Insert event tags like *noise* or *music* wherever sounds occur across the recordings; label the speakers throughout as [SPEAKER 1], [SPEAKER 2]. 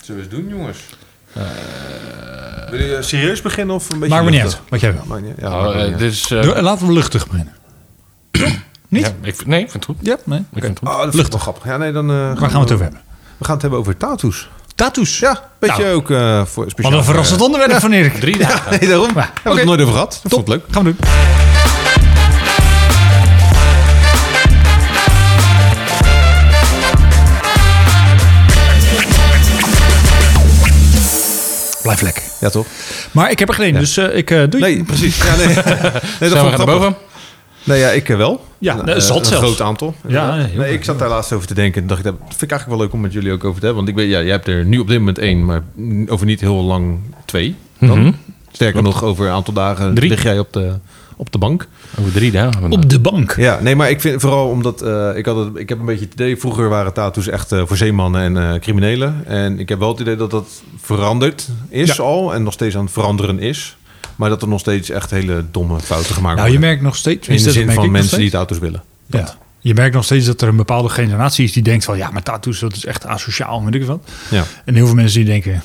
[SPEAKER 1] Zullen we eens doen, jongens?
[SPEAKER 2] Wil je serieus beginnen of een beetje
[SPEAKER 3] Eh, Maakt me niet
[SPEAKER 2] luchtig?
[SPEAKER 3] uit, Oh, wat jij wil.
[SPEAKER 2] Maakt niet uit. Ja,
[SPEAKER 4] Nou,
[SPEAKER 2] maakt me
[SPEAKER 4] eh,
[SPEAKER 2] niet uit.
[SPEAKER 4] dit is, eh,
[SPEAKER 3] Doe- Laten we luchtig beginnen. niet?
[SPEAKER 4] ja, ik, vind- nee, ik vind het goed.
[SPEAKER 3] Ja, nee.
[SPEAKER 4] Ik vind het goed.
[SPEAKER 2] Oh, dat vind ik wel grappig. Ja, nee, dan, eh,
[SPEAKER 3] Waar gaan we het over hebben?
[SPEAKER 2] We gaan het hebben over tattoos.
[SPEAKER 3] Tattoos.
[SPEAKER 2] Ja, beetje
[SPEAKER 3] Nou.
[SPEAKER 2] ook eh, voor speciaal.
[SPEAKER 3] Wat een verrassend onderwerp van Erik.
[SPEAKER 4] Drie dagen.
[SPEAKER 2] *laughs* Nee, daarom. Hebben we
[SPEAKER 3] Oké.
[SPEAKER 2] het nooit over gehad. Dat vond ik leuk.
[SPEAKER 3] Gaan we doen. Blijf lekker.
[SPEAKER 2] Ja, toch?
[SPEAKER 3] Maar ik heb er geen, dus eh, ik eh doe
[SPEAKER 2] Nee, precies. Ja,
[SPEAKER 3] *laughs*
[SPEAKER 2] nee. nee, dat vond ik
[SPEAKER 4] Zijn we gaan naar
[SPEAKER 2] grappig.
[SPEAKER 4] boven?
[SPEAKER 2] Nee, ja, ik eh, wel.
[SPEAKER 3] Ja,
[SPEAKER 2] Een,
[SPEAKER 3] nou,
[SPEAKER 2] eh,
[SPEAKER 3] zat
[SPEAKER 2] een
[SPEAKER 3] zelfs.
[SPEAKER 2] groot aantal.
[SPEAKER 3] Ja, heel
[SPEAKER 2] nee, ik zat daar laatst over te denken. En dacht ik, dat vind ik eigenlijk wel leuk om met jullie ook over te hebben. Want ik weet, ja, jij hebt er nu op dit moment één, maar over niet heel lang twee. Dan.
[SPEAKER 3] Mhm.
[SPEAKER 2] Sterker nog, over een aantal dagen
[SPEAKER 4] Drie.
[SPEAKER 2] lig jij op de, op de bank.
[SPEAKER 4] Over drie dagen.
[SPEAKER 3] op de bank.
[SPEAKER 2] Ja, nee, maar ik vind vooral omdat eh, ik, had het, ik heb een beetje het idee, vroeger waren tattoos echt eh, voor zeemannen en eh, criminelen. En ik heb wel het idee dat dat veranderd is
[SPEAKER 3] Ja.
[SPEAKER 2] al en nog steeds aan het veranderen is. Maar dat er nog steeds echt hele domme fouten gemaakt
[SPEAKER 3] Nou, je
[SPEAKER 2] worden.
[SPEAKER 3] merkt nog steeds...
[SPEAKER 2] In de
[SPEAKER 3] tenminste,
[SPEAKER 2] zin
[SPEAKER 3] dat merk
[SPEAKER 2] van
[SPEAKER 3] ik nog
[SPEAKER 2] mensen die
[SPEAKER 3] steeds.
[SPEAKER 2] tattoos willen.
[SPEAKER 3] Ja. Je merkt nog steeds dat er een bepaalde generatie is die denkt van... Ja, maar tattoos, dat is echt asociaal, weet ik wat.
[SPEAKER 2] Ja,
[SPEAKER 3] En heel veel mensen die denken... eh,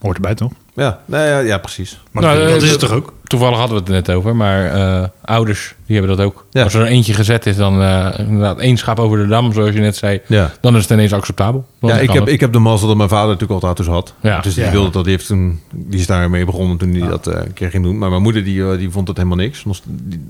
[SPEAKER 3] Hoort erbij, toch?
[SPEAKER 2] ja, nou ja, ja precies.
[SPEAKER 3] Maar
[SPEAKER 4] Nou,
[SPEAKER 3] dat,
[SPEAKER 4] eh,
[SPEAKER 3] dat is het
[SPEAKER 4] dat-
[SPEAKER 3] toch ook?
[SPEAKER 4] Toevallig hadden we het net over, maar eh, ouders die hebben dat ook.
[SPEAKER 2] Ja.
[SPEAKER 4] Als er eentje gezet is, dan eh inderdaad één schaap over de dam, zoals je net zei.
[SPEAKER 2] Ja.
[SPEAKER 4] Dan is het ineens acceptabel. Dan
[SPEAKER 2] Ja, ik
[SPEAKER 4] kan
[SPEAKER 2] heb,
[SPEAKER 4] het.
[SPEAKER 2] ik heb de mazzel dat mijn vader natuurlijk al tattoos had.
[SPEAKER 4] Ja.
[SPEAKER 2] Dus die
[SPEAKER 3] Ja.
[SPEAKER 2] wilde dat, die, heeft toen, die is daarmee begonnen toen hij dat eh, een keer ging doen. Maar mijn moeder die, eh, die vond het helemaal niks. Nog st- die-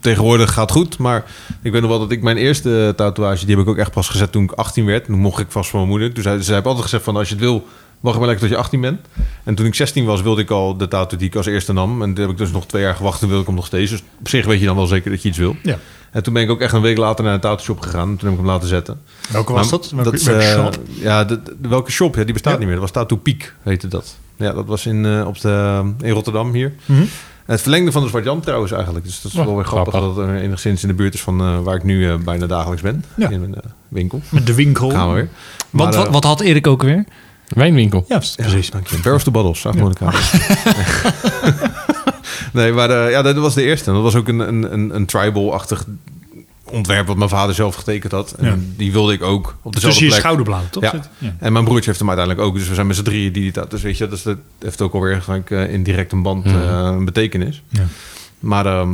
[SPEAKER 2] tegenwoordig gaat goed, maar ik weet nog wel dat ik mijn eerste tatoeage, die heb ik ook echt pas gezet toen ik 18 werd. Toen mocht ik vast van mijn moeder. Toen zei, ze heeft altijd gezegd van als je het wil, wacht maar lekker tot je 18 bent. En toen ik 16 was, wilde ik al de tattoo die ik als eerste nam. En toen heb ik dus nog twee jaar gewacht en wilde ik hem nog steeds. Dus op zich weet je dan wel zeker dat je iets wil.
[SPEAKER 3] Ja.
[SPEAKER 2] En toen ben ik ook echt een week later naar een tattoo shop gegaan. En toen heb ik hem laten zetten.
[SPEAKER 3] Welke was dat?
[SPEAKER 2] Maar
[SPEAKER 3] Welke,
[SPEAKER 2] dat,
[SPEAKER 3] welke
[SPEAKER 2] eh,
[SPEAKER 3] shop?
[SPEAKER 2] Ja, de, de- welke shop? Ja, die bestaat
[SPEAKER 3] Ja.
[SPEAKER 2] niet meer. Dat was Tattoo Peak, heette dat. Ja, dat was in, eh, op de, in Rotterdam hier.
[SPEAKER 3] Mhm.
[SPEAKER 2] En het verlengde van de Zwarte Jan trouwens eigenlijk. Dus dat is
[SPEAKER 4] Oh,
[SPEAKER 2] wel weer grappig,
[SPEAKER 4] grappig.
[SPEAKER 2] dat het er enigszins in de buurt is van eh, waar ik nu eh, bijna dagelijks ben.
[SPEAKER 3] Ja.
[SPEAKER 2] In mijn eh, winkel.
[SPEAKER 3] Met de winkel.
[SPEAKER 2] Gaan we weer.
[SPEAKER 3] Want
[SPEAKER 2] Maar,
[SPEAKER 3] wat,
[SPEAKER 2] eh,
[SPEAKER 3] wat had Erik ook weer?
[SPEAKER 4] Wijnwinkel.
[SPEAKER 3] Ja,
[SPEAKER 2] ja,
[SPEAKER 3] precies.
[SPEAKER 2] Dank je. Birth the bottles, zag *laughs* nee, maar eh, ja, dat was de eerste. En Dat was ook een, een, een, een tribal-achtig ontwerp wat mijn vader zelf getekend had. En
[SPEAKER 3] Ja.
[SPEAKER 2] die wilde ik ook op dezelfde
[SPEAKER 3] Tussen je
[SPEAKER 2] plek.
[SPEAKER 3] schouderbladen, toch?
[SPEAKER 2] Ja. En mijn broertje heeft hem uiteindelijk ook. Dus we zijn met z'n drieën die dat. Dus weet je, dus dat heeft ook alweer gelijk eh, in direct een band eh, een betekenis.
[SPEAKER 3] Ja.
[SPEAKER 2] Maar ehm,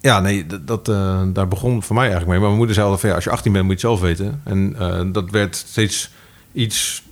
[SPEAKER 2] ja, nee, dat, dat, eh, daar begon voor mij eigenlijk mee. Maar mijn moeder zei altijd van ja, als je 18 bent moet je het zelf weten. En eh, dat werd steeds iets.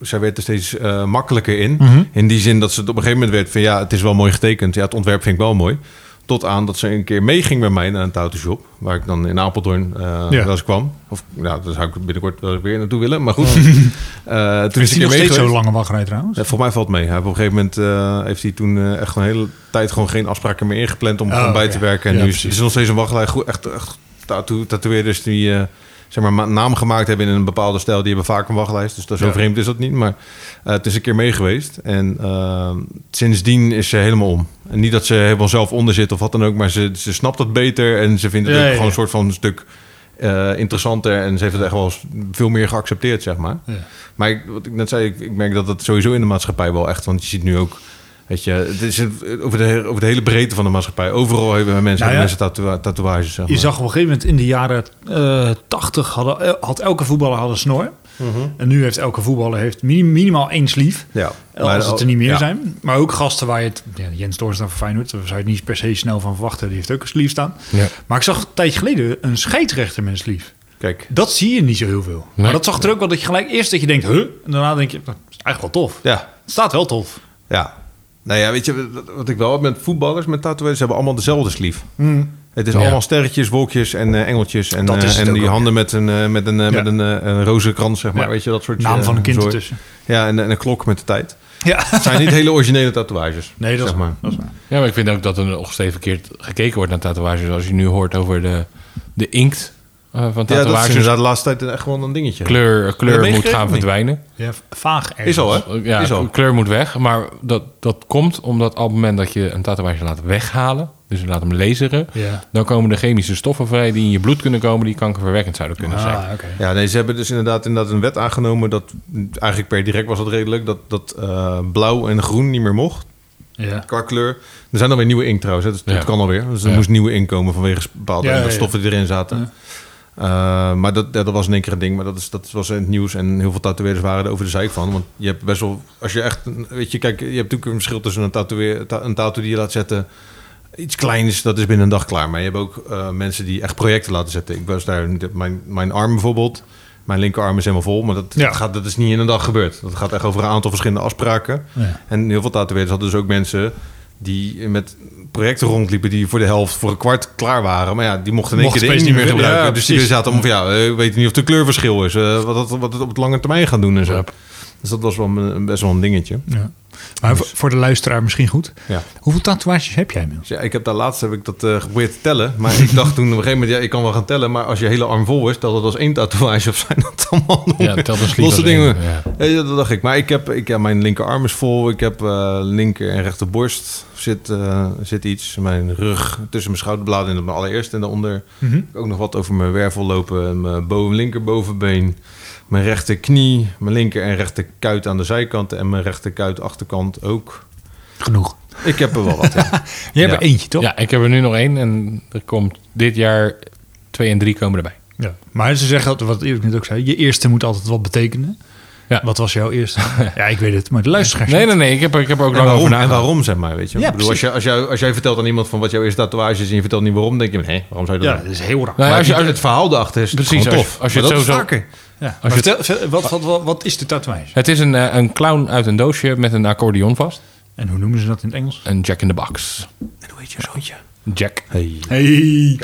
[SPEAKER 2] Zij werd er steeds eh, makkelijker in.
[SPEAKER 3] Mhm.
[SPEAKER 2] In die zin dat ze het op een gegeven moment werd van ja, het is wel mooi getekend. Ja, het ontwerp vind ik wel mooi. Tot aan dat ze een keer meeging met mij naar een tattoo-shop. Waar ik dan in Apeldoorn eh
[SPEAKER 3] Ja.
[SPEAKER 2] wel eens kwam. Of nou, daar zou ik binnenkort wel weer naartoe willen. Maar goed. *laughs* Eh, toen is ik
[SPEAKER 3] Is hij Oh. nog
[SPEAKER 2] mee
[SPEAKER 3] steeds
[SPEAKER 2] geweest.
[SPEAKER 3] zo'n lange wachtrij trouwens?
[SPEAKER 2] Ja, voor Eh, mij valt het mee. Hij heeft op een gegeven moment eh, heeft hij toen eh, echt een hele tijd gewoon geen afspraken meer ingepland om
[SPEAKER 3] Oh,
[SPEAKER 2] gewoon bij te
[SPEAKER 3] oké.
[SPEAKER 2] werken. En
[SPEAKER 3] Ja,
[SPEAKER 2] nu is,
[SPEAKER 3] precies.
[SPEAKER 2] is er nog steeds een wachtlijn. Goed, echt, echt tattoo, tatoeëerders die eh, zeg maar ma- naam gemaakt hebben in een bepaalde stijl, die hebben vaak een wachtlijst. Dus dat zo
[SPEAKER 3] Ja.
[SPEAKER 2] vreemd is dat niet. Maar eh, het is een keer mee geweest. En eh, sindsdien is ze helemaal om. En niet dat ze helemaal zelf onder zit of wat dan ook, maar ze, ze snapt dat beter en ze vindt het
[SPEAKER 3] Ja,
[SPEAKER 2] ook
[SPEAKER 3] ja,
[SPEAKER 2] gewoon
[SPEAKER 3] ja.
[SPEAKER 2] een soort van stuk eh, interessanter. En ze heeft het echt wel eens veel meer geaccepteerd, zeg maar.
[SPEAKER 3] Ja.
[SPEAKER 2] Maar ik, wat ik net zei, ik, ik merk dat dat sowieso in de maatschappij wel echt... want je ziet nu ook, weet je, het is een- over de, he- over de hele breedte van de maatschappij... overal hebben mensen,
[SPEAKER 3] Nou ja.
[SPEAKER 2] hebben mensen tattoo- tatoeages, zeg
[SPEAKER 3] Je
[SPEAKER 2] maar.
[SPEAKER 3] zag op een gegeven moment in de jaren eh 80 hadden, eh, had elke voetballer had een snor.
[SPEAKER 2] Mhm.
[SPEAKER 3] En nu heeft elke voetballer heeft mini- minimaal één sleeve.
[SPEAKER 2] Ja. Maar
[SPEAKER 3] Als
[SPEAKER 2] al-
[SPEAKER 3] het er niet meer
[SPEAKER 2] ja.
[SPEAKER 3] zijn. Maar ook gasten waar je het... Ja, Jens Doorstra van Feyenoord, daar zou je het niet per se snel van verwachten. Die heeft ook een sleeve staan.
[SPEAKER 4] Ja.
[SPEAKER 3] Maar ik zag een tijdje geleden een scheidsrechter met een sleeve.
[SPEAKER 2] Kijk.
[SPEAKER 3] Dat zie je niet zo heel veel. Maar dat zag er ook wel dat je gelijk eerst dat je denkt... Huh? En daarna denk je, dat is eigenlijk wel tof.
[SPEAKER 2] Ja,
[SPEAKER 3] Het staat wel tof.
[SPEAKER 2] ja. Nou ja, weet je, wat- wat ik wel heb met voetballers, met tatoeages... ze hebben allemaal dezelfde sleeve. Het is
[SPEAKER 4] Ja.
[SPEAKER 2] allemaal sterretjes, wolkjes en eh, engeltjes. En,
[SPEAKER 3] Hmm. Dat
[SPEAKER 2] eh,
[SPEAKER 3] is het
[SPEAKER 2] en
[SPEAKER 3] ook
[SPEAKER 2] die
[SPEAKER 3] al, ja.
[SPEAKER 2] handen met een, eh, met een, eh, met een, eh, een rozenkrans, zeg maar.
[SPEAKER 3] Ja.
[SPEAKER 2] Weet je, dat soort...
[SPEAKER 3] Naam
[SPEAKER 2] eh,
[SPEAKER 3] van een kind
[SPEAKER 2] zooi.
[SPEAKER 3] ertussen.
[SPEAKER 2] Ja, en, en een klok met de tijd.
[SPEAKER 3] Ja.
[SPEAKER 2] Het zijn
[SPEAKER 3] *laughs*
[SPEAKER 2] niet hele originele tatoeages.
[SPEAKER 3] Nee, dat,
[SPEAKER 2] zeg
[SPEAKER 3] is,
[SPEAKER 2] maar.
[SPEAKER 3] dat is waar.
[SPEAKER 4] Ja, maar ik vind ook dat er nog steeds verkeerd gekeken wordt naar tatoeages. Als je nu hoort over de, de inkt eh, van
[SPEAKER 2] Ja, dat is
[SPEAKER 4] tatoeages.
[SPEAKER 2] inderdaad de laatste tijd echt gewoon een dingetje.
[SPEAKER 4] kleur
[SPEAKER 2] Heb je
[SPEAKER 4] kleur moet
[SPEAKER 2] meegekregen
[SPEAKER 4] gaan
[SPEAKER 2] of niet?
[SPEAKER 4] verdwijnen.
[SPEAKER 3] Ja, vaag ergens.
[SPEAKER 2] Is al, hè?
[SPEAKER 4] Ja,
[SPEAKER 2] Is al.
[SPEAKER 4] kleur moet weg. Maar dat, dat komt omdat op het moment dat je een tatoeage laat weghalen... dus je laat hem laseren...
[SPEAKER 3] Ja.
[SPEAKER 4] dan komen de chemische stoffen vrij die in je bloed kunnen komen... die kankerverwekkend zouden kunnen zijn.
[SPEAKER 3] Ah, oké.
[SPEAKER 2] Ja, nee, ze hebben dus inderdaad, inderdaad een wet aangenomen dat eigenlijk per direct was dat redelijk dat, dat eh, blauw en groen niet meer mocht
[SPEAKER 3] Ja.
[SPEAKER 2] qua kleur. Er zijn alweer nieuwe inkt trouwens, hè, dus dat
[SPEAKER 4] Ja.
[SPEAKER 2] kan alweer. Dus er
[SPEAKER 4] Ja.
[SPEAKER 2] moest nieuwe inkt komen vanwege bepaalde
[SPEAKER 3] Ja, ja, ja.
[SPEAKER 2] stoffen die erin zaten. Eh, maar dat, ja, dat was in één keer een ding. Maar dat, is, dat was in het nieuws. En heel veel tatoeëerders waren er over de zeik van. Want je hebt best wel... Als je echt... een- Weet je, kijk, je hebt natuurlijk een verschil tussen een tatoeëer... ta- Een tattoo die je laat zetten... Iets kleins, dat is binnen een dag klaar. Maar je hebt ook eh, mensen die echt projecten laten zetten. Ik was daar... niet- Mijn, mijn arm bijvoorbeeld... Mijn linkerarm is helemaal vol, maar dat,
[SPEAKER 3] Ja.
[SPEAKER 2] dat gaat, dat is niet in een dag gebeurd. Dat gaat echt over een aantal verschillende afspraken.
[SPEAKER 3] Ja.
[SPEAKER 2] En heel veel tatoeëerders hadden dus ook mensen die met projecten rondliepen die voor de helft, voor een kwart klaar waren. Maar ja, die mochten in één
[SPEAKER 3] Mochten
[SPEAKER 2] keer de
[SPEAKER 3] opeens
[SPEAKER 2] ink
[SPEAKER 3] niet meer
[SPEAKER 2] gebruiken.
[SPEAKER 3] gebruiken.
[SPEAKER 2] dus die
[SPEAKER 3] Precies.
[SPEAKER 2] zaten om van ja, eh, we weten niet of het een kleurverschil is. eh, wat, het, wat het op het lange termijn gaan doen en zo. Dus dat was wel een, best wel een dingetje.
[SPEAKER 3] Ja. Maar voor- voor de luisteraar misschien goed.
[SPEAKER 2] Ja.
[SPEAKER 3] Hoeveel tatoeages heb jij inmiddels?
[SPEAKER 2] Dus ja, ik heb daar laatst heb ik dat eh, geprobeerd te tellen. Maar ik dacht toen op een gegeven moment, ja, ik kan wel gaan tellen. Maar als je hele arm vol is, dat het als één tatoeage of zijn dat allemaal
[SPEAKER 4] Ja,
[SPEAKER 2] *laughs*
[SPEAKER 4] telt een sleeve
[SPEAKER 2] losse
[SPEAKER 4] als
[SPEAKER 2] dingen.
[SPEAKER 4] één,
[SPEAKER 2] Ja,
[SPEAKER 4] ja.
[SPEAKER 2] ja, dat dacht ik. Maar ik heb, ik, ja, mijn linkerarm is vol. Ik heb eh, linker en rechterborst zit, eh, zit iets. Mijn rug tussen mijn schouderbladen en op mijn allereerste en daaronder.
[SPEAKER 4] Mhm.
[SPEAKER 2] Ook nog wat over mijn wervel lopen. en Mijn boven, linker bovenbeen. Mijn rechter knie. Mijn linker en rechter kuit aan de zijkant. En mijn rechter kuit achterkant ook.
[SPEAKER 3] Genoeg.
[SPEAKER 2] Ik heb er wel
[SPEAKER 4] *laughs*
[SPEAKER 2] wat. ja.
[SPEAKER 3] Je hebt
[SPEAKER 2] Ja.
[SPEAKER 3] er eentje, toch?
[SPEAKER 4] Ja, ik heb er nu nog één en er komt dit jaar twee en drie komen erbij.
[SPEAKER 3] Ja. Maar ze zeggen, altijd, wat Erik net ook zei, je eerste moet altijd wat betekenen.
[SPEAKER 4] Ja.
[SPEAKER 3] Wat was jouw eerste? ja, ik weet het, maar de luisteraars
[SPEAKER 4] Nee, nee, nee. Ik heb, er- ik heb er ook
[SPEAKER 2] En
[SPEAKER 4] lang over
[SPEAKER 2] waarom, en
[SPEAKER 4] nagedacht.
[SPEAKER 2] waarom, zeg maar, weet je.
[SPEAKER 3] Ja,
[SPEAKER 2] Ik bedoel, als,
[SPEAKER 3] precies.
[SPEAKER 2] je, als, jij, als jij vertelt aan iemand van wat jouw eerste tatoeage is... en je vertelt niet waarom, denk je... hé, waarom zou je dat
[SPEAKER 3] Ja,
[SPEAKER 2] doen?
[SPEAKER 3] dat is heel raar.
[SPEAKER 4] Nou ja,
[SPEAKER 2] Maar
[SPEAKER 4] als je,
[SPEAKER 2] het-
[SPEAKER 4] als
[SPEAKER 2] het verhaal erachter is
[SPEAKER 4] Precies,
[SPEAKER 2] precies
[SPEAKER 4] als-
[SPEAKER 2] tof.
[SPEAKER 4] als je
[SPEAKER 2] Maar
[SPEAKER 4] het
[SPEAKER 2] dat
[SPEAKER 4] zo
[SPEAKER 2] is
[SPEAKER 4] zou-
[SPEAKER 2] vaker.
[SPEAKER 3] Ja.
[SPEAKER 4] Als je-
[SPEAKER 3] vertel, ver- wat, wat, wat, wat is de tatoeage?
[SPEAKER 4] het is een, eh, een clown uit een doosje met een accordeon vast.
[SPEAKER 3] En hoe noemen ze dat in het Engels?
[SPEAKER 4] Een Jack in the Box.
[SPEAKER 3] En hoe heet je zoontje?
[SPEAKER 4] Jack.
[SPEAKER 3] Hey.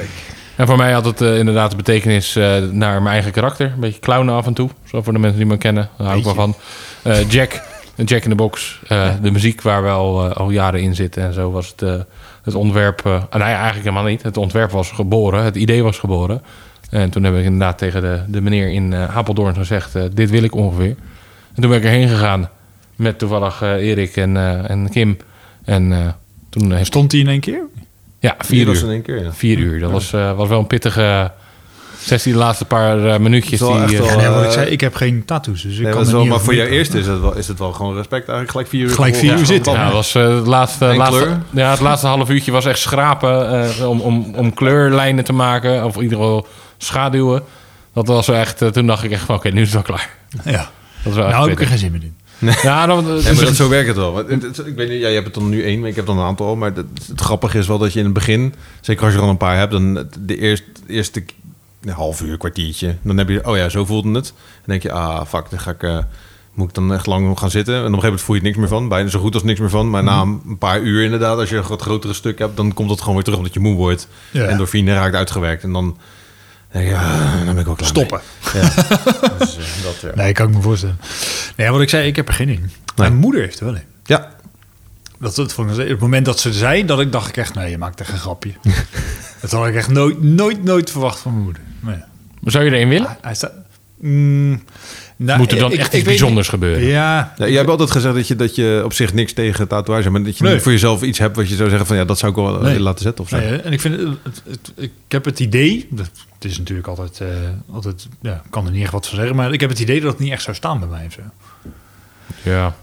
[SPEAKER 4] En voor mij had het eh, inderdaad de betekenis eh, naar mijn eigen karakter. Een beetje clownen af en toe. Zo voor de mensen die me kennen. Daar hou ik wel van. Eh, Jack. een Jack in the Box. Eh, De muziek waar we al, eh, al jaren in zitten. En zo was het, eh, het ontwerp... eh, nou ja, eigenlijk helemaal niet. Het ontwerp was geboren. Het idee was geboren. En toen heb ik inderdaad tegen de, de meneer in eh Apeldoorn gezegd... eh, dit wil ik ongeveer. En toen ben ik erheen gegaan. Met toevallig eh, Erik en, eh, en Kim. En eh, toen heeft...
[SPEAKER 3] Stond hij in één keer?
[SPEAKER 4] Ja,
[SPEAKER 2] Vier
[SPEAKER 4] vier
[SPEAKER 2] was
[SPEAKER 4] uur.
[SPEAKER 2] in één keer, ja.
[SPEAKER 4] Vier uur. Dat was, eh, was wel een pittige 16 de laatste paar eh, minuutjes.
[SPEAKER 2] Het is
[SPEAKER 4] Die,
[SPEAKER 2] wel echt
[SPEAKER 4] eh,
[SPEAKER 2] wel,
[SPEAKER 3] Ja, nee, wat ik
[SPEAKER 2] Eh,
[SPEAKER 3] zei, ik heb geen tattoos, dus ik
[SPEAKER 2] Nee,
[SPEAKER 3] kan
[SPEAKER 2] dat is
[SPEAKER 3] het
[SPEAKER 2] wel,
[SPEAKER 3] niet
[SPEAKER 2] maar voor jouw
[SPEAKER 3] overbreken.
[SPEAKER 2] eerste is het, wel, is het wel gewoon respect eigenlijk. Gelijk vier uur.
[SPEAKER 3] Gelijk vier
[SPEAKER 2] vervolgens.
[SPEAKER 3] uur zitten,
[SPEAKER 4] ja, dat was, eh, het, laatste,
[SPEAKER 2] En
[SPEAKER 4] laatste,
[SPEAKER 2] kleur?
[SPEAKER 4] ja, het laatste half uurtje was echt schrapen eh, om, om, om kleurlijnen te maken. Of in ieder geval schaduwen. Dat was wel echt, eh, toen dacht ik echt van oké, nu is het wel klaar.
[SPEAKER 3] Ja.
[SPEAKER 4] Dat is wel
[SPEAKER 3] Nou
[SPEAKER 4] echt
[SPEAKER 3] heb ik er
[SPEAKER 4] pittig.
[SPEAKER 3] geen zin meer in.
[SPEAKER 4] Ja, dat, dat
[SPEAKER 2] Ja,
[SPEAKER 4] is
[SPEAKER 2] maar dat,
[SPEAKER 4] het-
[SPEAKER 2] zo werkt het wel. Want het- het- ik weet niet, ja, je hebt het dan nu één, maar ik heb dan een aantal. Maar dat- het grappige is wel dat je in het begin, zeker als je er al een paar hebt, dan het- de eerste, eerste k- een half uur, kwartiertje, dan heb je, oh ja, zo voelde het. Dan denk je, ah, fuck, dan ga ik, eh, moet ik dan echt lang gaan zitten. En op een gegeven moment voel je er niks meer van, bijna zo goed als niks meer van. Maar na een paar uur inderdaad, als je een wat grotere stuk hebt, dan komt dat gewoon weer terug omdat je moe wordt.
[SPEAKER 3] Ja.
[SPEAKER 2] En dorfine raakt uitgewerkt. En dan, denk je, ah, dan ben ik ook klaar
[SPEAKER 3] Stoppen.
[SPEAKER 2] mee. Ja. dus, eh, dat, ja.
[SPEAKER 3] Nee, kan ik me voorstellen. Nee, wat ik zei, ik heb er geen in. Mijn moeder heeft er wel in.
[SPEAKER 2] ja,
[SPEAKER 3] Dat, dat vond ik, het moment dat ze er zei, dat ik dacht ik echt, nee, je maakt echt een
[SPEAKER 4] *laughs*
[SPEAKER 3] grapje. dat had ik echt nooit, nooit, nooit verwacht van mijn moeder. Maar ja,
[SPEAKER 4] Zou je erin willen?
[SPEAKER 3] hij- hij staat... Mm, nou,
[SPEAKER 4] Moet er dan
[SPEAKER 3] ik- ik
[SPEAKER 4] echt iets
[SPEAKER 3] weet
[SPEAKER 4] bijzonders
[SPEAKER 3] niet.
[SPEAKER 4] gebeuren?
[SPEAKER 3] Ja,
[SPEAKER 2] Ja, jij hebt altijd gezegd dat je, dat je op zich niks tegen tatoeage hebt. Maar dat je
[SPEAKER 3] Nee.
[SPEAKER 2] niet voor jezelf iets hebt wat je zou zeggen van... ja, dat zou ik wel eh,
[SPEAKER 3] Nee.
[SPEAKER 2] laten zetten of zo.
[SPEAKER 3] Nou ja, en ik vind, het- het- het- ik heb het idee, dat- het is natuurlijk altijd, eh, altijd ja, ik kan er niet echt wat van zeggen, maar ik heb het idee dat het niet echt zou staan bij mij of zo.
[SPEAKER 4] Ja.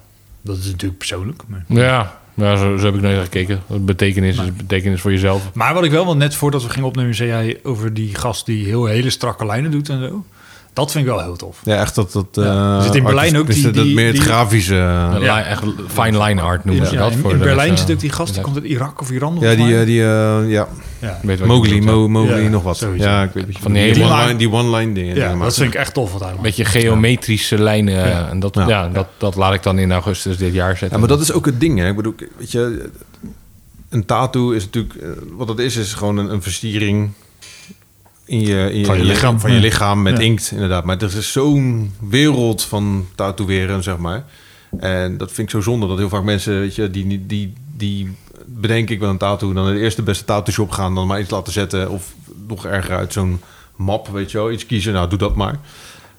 [SPEAKER 3] Dat is natuurlijk persoonlijk. Maar,
[SPEAKER 4] Ja, ja zo, zo heb ik nooit naar gekeken. Wat Betekenis is betekenis voor jezelf.
[SPEAKER 3] maar wat ik wel, want net voordat we gingen opnemen, zei jij over die gast die heel hele strakke lijnen doet en zo. Dat vind ik wel heel tof.
[SPEAKER 2] Ja, echt dat... dat
[SPEAKER 3] Ja.
[SPEAKER 2] eh,
[SPEAKER 3] Zit in Berlijn ook die-
[SPEAKER 2] is dat- dat
[SPEAKER 3] die-
[SPEAKER 2] meer het
[SPEAKER 3] die-
[SPEAKER 2] grafische... eh,
[SPEAKER 4] Li- Echt fine line art noemen
[SPEAKER 3] Ja,
[SPEAKER 4] ze dat.
[SPEAKER 3] in,
[SPEAKER 4] voor
[SPEAKER 3] in
[SPEAKER 4] de eh,
[SPEAKER 3] Berlijn
[SPEAKER 4] mensen.
[SPEAKER 3] zit ook die gast, die
[SPEAKER 4] Ja.
[SPEAKER 3] komt uit Irak of Iran.
[SPEAKER 2] Ja,
[SPEAKER 3] volgens
[SPEAKER 2] die,
[SPEAKER 3] mij.
[SPEAKER 2] eh, die eh, ja,
[SPEAKER 3] ja.
[SPEAKER 4] Ik weet wat je
[SPEAKER 2] Mowgli,
[SPEAKER 4] bedoelt, ja.
[SPEAKER 2] Mo, Mowgli
[SPEAKER 3] Ja,
[SPEAKER 2] nog wat.
[SPEAKER 3] sowieso.
[SPEAKER 2] Ja, ik weet niet.
[SPEAKER 4] Van die hele
[SPEAKER 2] one-line
[SPEAKER 3] line-
[SPEAKER 2] die one line dingen.
[SPEAKER 3] ja,
[SPEAKER 2] maar-
[SPEAKER 3] dat vind ik echt tof wat hij
[SPEAKER 4] Een
[SPEAKER 3] maakt.
[SPEAKER 4] beetje geometrische lijnen. eh, En dat, ja.
[SPEAKER 2] Ja.
[SPEAKER 4] Dat, dat laat ik dan in augustus dit jaar zetten.
[SPEAKER 2] Ja, maar dat is ook het ding. Hè? Ik bedoel, weet je, een tattoo is natuurlijk. eh, Wat dat is, is gewoon een, een versiering. In je, in
[SPEAKER 3] Van je
[SPEAKER 2] in
[SPEAKER 3] lichaam.
[SPEAKER 2] van je
[SPEAKER 3] Ja.
[SPEAKER 2] lichaam met
[SPEAKER 3] Ja.
[SPEAKER 2] inkt, inderdaad. Maar er is zo'n wereld van tatoeëren, zeg maar. En dat vind ik zo zonde. Dat heel vaak mensen, weet je, die, die, die, die bedenken ik wel een tattoo. Dan naar de eerste beste tattoo shop gaan. Dan maar iets laten zetten. Of nog erger uit zo'n map, weet je wel. Iets kiezen, nou doe dat maar.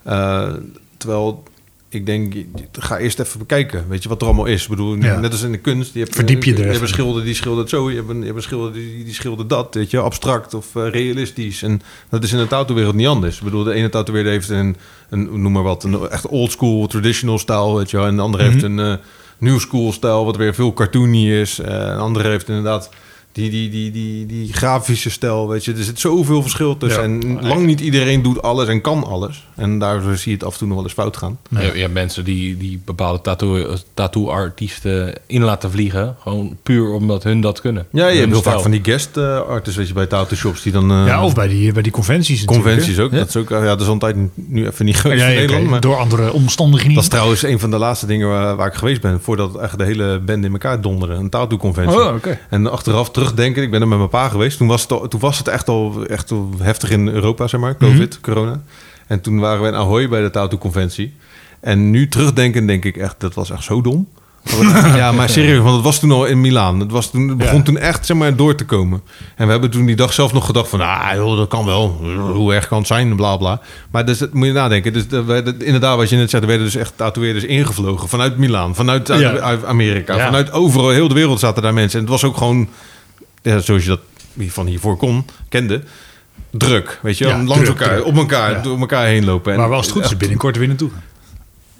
[SPEAKER 2] Eh, terwijl ik denk, ga eerst even bekijken. Weet je wat er allemaal is? Ik bedoel,
[SPEAKER 3] Ja.
[SPEAKER 2] net als in de kunst. Je hebt,
[SPEAKER 3] Verdiep je er
[SPEAKER 2] Je hebt
[SPEAKER 3] even
[SPEAKER 2] een
[SPEAKER 3] in.
[SPEAKER 2] schilder die schildert zo. Je hebt een, je hebt een schilder die, die schildert dat. Weet je, abstract of eh, realistisch. En dat is in de tattoo-wereld niet anders. Ik bedoel, de ene tattoo-wereld heeft een, een, noem maar wat, een echt oldschool, traditional stijl. Weet je, wel. en de andere heeft een eh new school stijl, wat weer veel cartoony is. Eh, een andere heeft inderdaad die, die, die, die, die grafische stijl, weet je. Er zit zoveel verschil tussen.
[SPEAKER 3] Ja.
[SPEAKER 2] En lang niet iedereen doet alles en kan alles. En daardoor zie je het af en toe nog wel eens fout gaan.
[SPEAKER 4] Je, je hebt mensen die, die bepaalde tattoo- tattoo-artiesten in laten vliegen. Gewoon puur omdat hun dat kunnen.
[SPEAKER 2] Ja, je
[SPEAKER 4] Hun
[SPEAKER 2] hebt heel
[SPEAKER 4] stijl.
[SPEAKER 2] vaak van die guest eh, artists, weet je, bij tattoo shops die dan... eh,
[SPEAKER 3] ja, of bij die, bij die conventies natuurlijk,
[SPEAKER 2] Conventies
[SPEAKER 3] hè?
[SPEAKER 2] ook. Dat is ook, ja, dat is altijd nu even niet
[SPEAKER 3] Ja,
[SPEAKER 2] groot
[SPEAKER 3] ja,
[SPEAKER 2] in
[SPEAKER 3] oké,
[SPEAKER 2] Nederland. Maar
[SPEAKER 3] Door andere omstandigheden
[SPEAKER 2] dat is
[SPEAKER 3] niet.
[SPEAKER 2] trouwens een van de laatste dingen waar, waar ik geweest ben. Voordat echt de hele band in elkaar donderde. Een tattoo-conventie.
[SPEAKER 3] Oh, oké.
[SPEAKER 2] En achteraf terugdenken, ik ben er met mijn pa geweest. Toen was het, al- toen was het echt al echt al heftig in Europa, zeg maar. Covid,
[SPEAKER 3] Mhm.
[SPEAKER 2] corona. En toen waren we in Ahoy bij de tattoo-conventie. En nu terugdenken denk ik echt, dat was echt zo dom.
[SPEAKER 3] *laughs*
[SPEAKER 2] ja, maar serieus, want het was toen al in Milaan. Het, was toen, het begon
[SPEAKER 3] Ja.
[SPEAKER 2] toen echt zeg maar, door te komen. En we hebben toen die dag zelf nog gedacht van... Ah, joh, dat kan wel. Hoe erg kan het zijn? Bla, bla. Maar dus, dat moet je nadenken. Dus, er werden- inderdaad, wat je net zei... er werden dus echt tatoeëerders ingevlogen. Vanuit Milaan, vanuit
[SPEAKER 3] Ja.
[SPEAKER 2] uit Amerika.
[SPEAKER 3] Ja.
[SPEAKER 2] Vanuit overal, heel de wereld zaten daar mensen. En het was ook gewoon, ja, zoals je dat van hiervoor kon, kende... Druk, weet je, wel.
[SPEAKER 3] Ja,
[SPEAKER 2] langs
[SPEAKER 3] druk,
[SPEAKER 2] elkaar,
[SPEAKER 3] druk.
[SPEAKER 2] op elkaar,
[SPEAKER 3] Ja.
[SPEAKER 2] door elkaar heen lopen. En-
[SPEAKER 3] Maar wel als het goed is, binnenkort weer naartoe. gaan.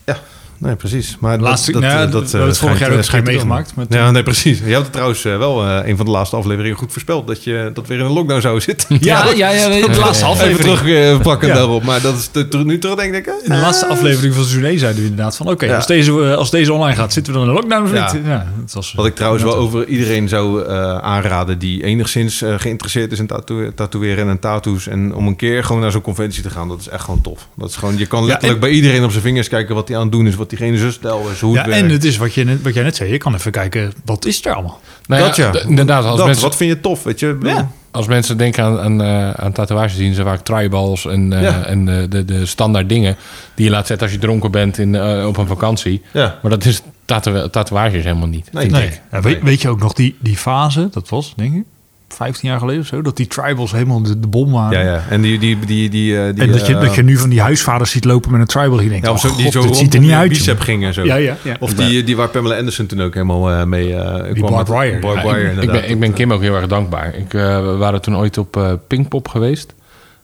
[SPEAKER 2] ja, nee, precies. Maar
[SPEAKER 3] Laatste-
[SPEAKER 2] dat, dat,
[SPEAKER 3] nou ja,
[SPEAKER 2] eh, dat,
[SPEAKER 3] we hebben het vorig jaar ook een keer meegemaakt, maar toen-
[SPEAKER 2] Ja, nee, precies. Je had het trouwens eh, wel eh, een van de laatste afleveringen goed voorspeld dat je dat weer in een lockdown zou zitten. *laughs*
[SPEAKER 3] Ja, ja, ja, ja, *laughs* de
[SPEAKER 2] Even
[SPEAKER 3] laatste aflevering.
[SPEAKER 2] terugpakken
[SPEAKER 3] Ja.
[SPEAKER 2] daarop. Maar dat is te- ter- nu terug denk ik. Ah.
[SPEAKER 3] In de laatste aflevering van seizoen 1 zeiden we inderdaad van... oké,
[SPEAKER 2] Ja.
[SPEAKER 3] als, deze, eh, als deze online gaat, zitten we dan in de lockdown of
[SPEAKER 2] Ja.
[SPEAKER 3] niet? Ja, dat was, eh,
[SPEAKER 2] Wat ik trouwens wel over iedereen zou eh, aanraden die enigszins eh, geïnteresseerd is in tattoo- tatoeëren en tattoos. En om een keer gewoon naar zo'n conventie te gaan, dat is echt gewoon tof. Dat is gewoon, je kan letterlijk bij iedereen op zijn vingers kijken wat hij aan het doen is, wat diegene zijn stijl is, hoe
[SPEAKER 3] Ja,
[SPEAKER 2] het werkt.
[SPEAKER 3] en het is wat, je, net- wat jij net zei. Je kan even kijken, wat is er allemaal?
[SPEAKER 4] Nou ja,
[SPEAKER 2] dat ja.
[SPEAKER 4] d- Inderdaad, als,
[SPEAKER 2] dat,
[SPEAKER 4] mensen,
[SPEAKER 2] Wat vind je tof, weet je?
[SPEAKER 3] Ja.
[SPEAKER 4] als mensen denken aan, aan, eh, aan tatoeages, zien ze vaak tribals en, eh,
[SPEAKER 2] Ja.
[SPEAKER 4] en eh, de, de standaard dingen die je laat zetten als je dronken bent in, eh, op een vakantie.
[SPEAKER 2] Ja.
[SPEAKER 4] Maar dat is tattoo tatoeages helemaal niet.
[SPEAKER 2] Nee,
[SPEAKER 3] Nee.
[SPEAKER 2] Jack.
[SPEAKER 3] Ja, weet,
[SPEAKER 2] Nee.
[SPEAKER 3] weet je ook nog die, die fase, dat was denk ik 15 jaar geleden of zo... dat die tribals helemaal de, de bom waren.
[SPEAKER 2] Ja, ja. En die, die, die, die, eh, die
[SPEAKER 3] En dat je,
[SPEAKER 2] eh,
[SPEAKER 3] dat je nu van die huisvaders ziet lopen met een tribal. Die denkt,
[SPEAKER 2] ja,
[SPEAKER 3] oh
[SPEAKER 2] of zo, die
[SPEAKER 3] god,
[SPEAKER 2] zo
[SPEAKER 3] dit
[SPEAKER 2] rond
[SPEAKER 3] ziet er
[SPEAKER 2] om
[SPEAKER 3] niet
[SPEAKER 2] die
[SPEAKER 3] uit.
[SPEAKER 2] bicep
[SPEAKER 3] joh.
[SPEAKER 2] ging en zo.
[SPEAKER 3] Ja, ja, ja.
[SPEAKER 2] Of die, die waar Pamela Anderson toen ook helemaal eh, mee eh kwam.
[SPEAKER 3] barbed
[SPEAKER 2] met-
[SPEAKER 3] wire.
[SPEAKER 2] barbed
[SPEAKER 4] Ja,
[SPEAKER 2] wire,
[SPEAKER 4] ik, ik,
[SPEAKER 2] inderdaad.
[SPEAKER 4] ben, ik ben Kim ook heel erg dankbaar. Ik, eh, we waren toen ooit op eh, Pinkpop geweest.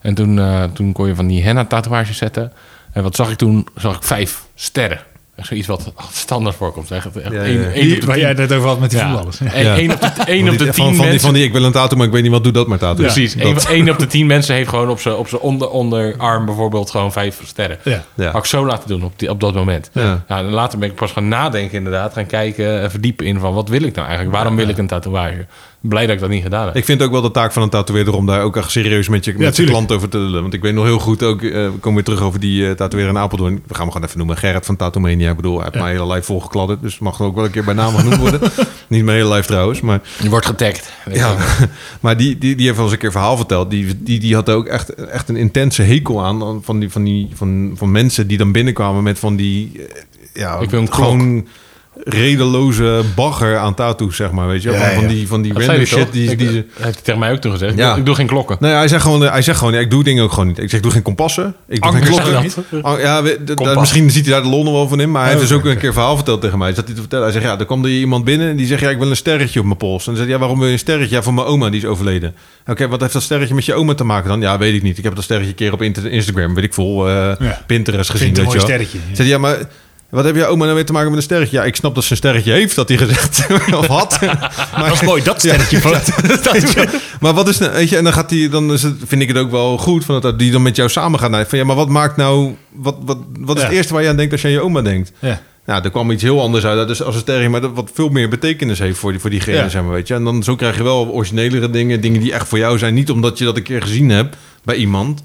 [SPEAKER 4] En toen, eh, toen kon je van die henna-tatoeages zetten. En wat zag ik toen? Zag ik vijf sterren. Echt zoiets wat standaard voorkomt. Echt,
[SPEAKER 2] Ja,
[SPEAKER 4] echt
[SPEAKER 2] ja,
[SPEAKER 4] één-
[SPEAKER 2] ja.
[SPEAKER 4] één op
[SPEAKER 3] Die,
[SPEAKER 4] de
[SPEAKER 3] waar jij het net over had met die
[SPEAKER 4] Ja.
[SPEAKER 3] voetballers. Ja.
[SPEAKER 4] Eén
[SPEAKER 2] Ja.
[SPEAKER 4] één op de, één
[SPEAKER 2] Van
[SPEAKER 4] op de
[SPEAKER 2] die- van,
[SPEAKER 4] tien
[SPEAKER 2] van, die,
[SPEAKER 4] mensen.
[SPEAKER 2] van die, ik wil een tattoo, maar ik weet niet wat, doe dat maar tattoo.
[SPEAKER 3] Ja.
[SPEAKER 4] Precies.
[SPEAKER 2] Dat-
[SPEAKER 4] Eén, één op de tien mensen heeft gewoon op zijn op z'n onder, onderarm bijvoorbeeld gewoon vijf sterren.
[SPEAKER 3] Ja.
[SPEAKER 2] *laughs* Ja.
[SPEAKER 4] Had ik zo laten doen op, die, op dat moment.
[SPEAKER 2] Ja.
[SPEAKER 4] Ja, en later ben ik pas gaan nadenken inderdaad. Gaan kijken en verdiepen in van wat wil ik nou eigenlijk? Waarom wil ik een tatoeage? Blij dat ik dat niet gedaan heb.
[SPEAKER 2] Ik vind het ook wel de taak van een tatoeëerder om daar ook echt serieus met je, met je
[SPEAKER 3] tuurlijk.
[SPEAKER 2] klant over te lullen. Want ik weet nog heel goed ook, eh, we komen weer terug over die eh tatoeëerder in Apeldoorn. We gaan hem gewoon even noemen. Gerrit van Tatomania. Ik bedoel, hij heeft mijn hele lijf volgekladderd. Dus het mag ook wel een keer bij naam genoemd worden.
[SPEAKER 3] *laughs*
[SPEAKER 2] niet mijn hele lijf trouwens, maar...
[SPEAKER 4] Je wordt getagd.
[SPEAKER 2] Ja, *laughs* maar die, die, die heeft wel eens een keer verhaal verteld. Die, die, die had ook echt, echt een intense hekel aan van, die, van, die, van, van mensen die dan binnenkwamen met van die... eh, Ja,
[SPEAKER 4] Ik wil een klok.
[SPEAKER 2] gewoon redeloze bagger aan tattoos, zeg maar. Weet je? wel.
[SPEAKER 3] Ja,
[SPEAKER 2] van, van
[SPEAKER 3] ja.
[SPEAKER 2] die, van die
[SPEAKER 4] Dat zei
[SPEAKER 2] random
[SPEAKER 4] hij
[SPEAKER 2] shit
[SPEAKER 4] toch?
[SPEAKER 2] die,
[SPEAKER 4] Ik-
[SPEAKER 2] die ze...
[SPEAKER 4] dat heeft hij tegen mij ook toen gezegd. Ik
[SPEAKER 2] Ja.
[SPEAKER 4] doe- Ik doe geen klokken.
[SPEAKER 2] Nee, hij zegt gewoon, eh, hij zegt gewoon ja, ik doe dingen ook gewoon niet. Ik zeg, ik doe geen kompassen. Ik doe
[SPEAKER 3] Anker
[SPEAKER 2] geen
[SPEAKER 3] zei
[SPEAKER 2] klokken.
[SPEAKER 3] dat.
[SPEAKER 2] An- Ja, we- d- d-
[SPEAKER 4] Kompas.
[SPEAKER 2] misschien ziet hij daar de lonnen wel van in. Maar hij heeft
[SPEAKER 3] Oh,
[SPEAKER 2] dus ook een keer verhaal verteld tegen mij. Zat hij te vertellen. Hij zegt, ja, er kwam er iemand binnen en die zegt, ja, ik wil een sterretje op mijn pols. En dan zegt, hij, ja, waarom wil je een sterretje? Ja, voor mijn oma, die is overleden. Oké, wat heeft dat sterretje met je oma te maken dan? Ja, weet ik niet. Ik heb dat sterretje een keer op inter- Instagram, weet ik veel, eh, Pinterest gezien.
[SPEAKER 3] Vindt een
[SPEAKER 2] Weet je
[SPEAKER 3] mooi
[SPEAKER 2] wel.
[SPEAKER 3] sterretje.
[SPEAKER 2] Zegt hij, ja, maar wat heb je oma nou weer te maken met een sterretje? Ja, ik snap dat ze een sterretje heeft, dat hij gezegd. *laughs* of had. Maar-
[SPEAKER 3] *laughs* Dat is mooi, dat sterretje.
[SPEAKER 2] *laughs*
[SPEAKER 3] van het-
[SPEAKER 2] Weet je? maar wat is nou, weet je, en dan gaat die, dan is het, vind ik het ook wel goed van dat die dan met jou samen gaat. Nou, van ja, maar wat maakt nou, wat, wat, wat is
[SPEAKER 3] Ja.
[SPEAKER 2] het eerste waar je aan denkt als je aan je oma denkt?
[SPEAKER 3] Ja.
[SPEAKER 2] Nou, er kwam iets heel anders uit. Dat is als een sterretje, maar dat wat veel meer betekenis heeft voor, die, voor diegene,
[SPEAKER 3] Ja.
[SPEAKER 2] zeg maar, weet je. En dan zo krijg je wel originelere dingen, dingen die echt voor jou zijn. Niet omdat je dat een keer gezien hebt bij iemand.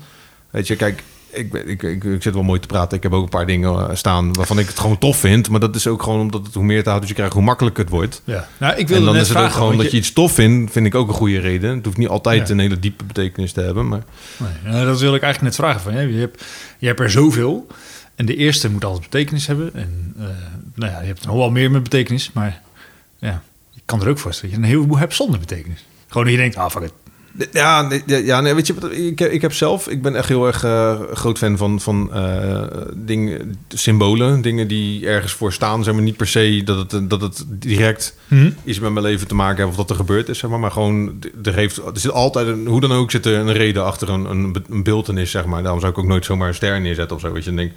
[SPEAKER 2] Weet je, kijk, ik, ben- ik, ik, ik zit wel mooi te praten. Ik heb ook een paar dingen eh, staan waarvan ik het gewoon tof vind. Maar dat is ook gewoon omdat het, hoe meer tattoos je krijgt, hoe makkelijker het wordt.
[SPEAKER 3] Ja. Nou, ik
[SPEAKER 2] En
[SPEAKER 3] wilde
[SPEAKER 2] dan
[SPEAKER 3] net
[SPEAKER 2] is het ook
[SPEAKER 3] vragen,
[SPEAKER 2] gewoon
[SPEAKER 3] want
[SPEAKER 2] dat je iets tof vindt, vind ik ook een goede reden. Het hoeft niet altijd
[SPEAKER 3] Ja.
[SPEAKER 2] een hele diepe betekenis te hebben, maar
[SPEAKER 3] Nee, nou, dat wil ik eigenlijk net vragen van je. Je hebt, je hebt er zoveel. En de eerste moet altijd betekenis hebben. En eh, nou ja, je hebt nog wel meer met betekenis. Maar ja, ik kan er ook voorstellen dat je een heleboel hebt zonder betekenis. Gewoon dat je denkt, ah fuck it.
[SPEAKER 2] Ja, nee, ja, ja, nee, weet je, wat, ik, heb- ik heb zelf, ik ben echt heel erg eh, groot fan van, van eh, dingen, symbolen, dingen die ergens voor staan, zeg maar niet per se dat het, eh, dat het direct iets met mijn leven te maken heeft of dat er gebeurd is, zeg maar, maar gewoon, d- er, heeft, er zit altijd, een, hoe dan ook, zit er een reden achter een, een, be- een beeltenis, zeg maar. Daarom zou ik ook nooit zomaar een ster neerzetten of zo, weet je, en denk,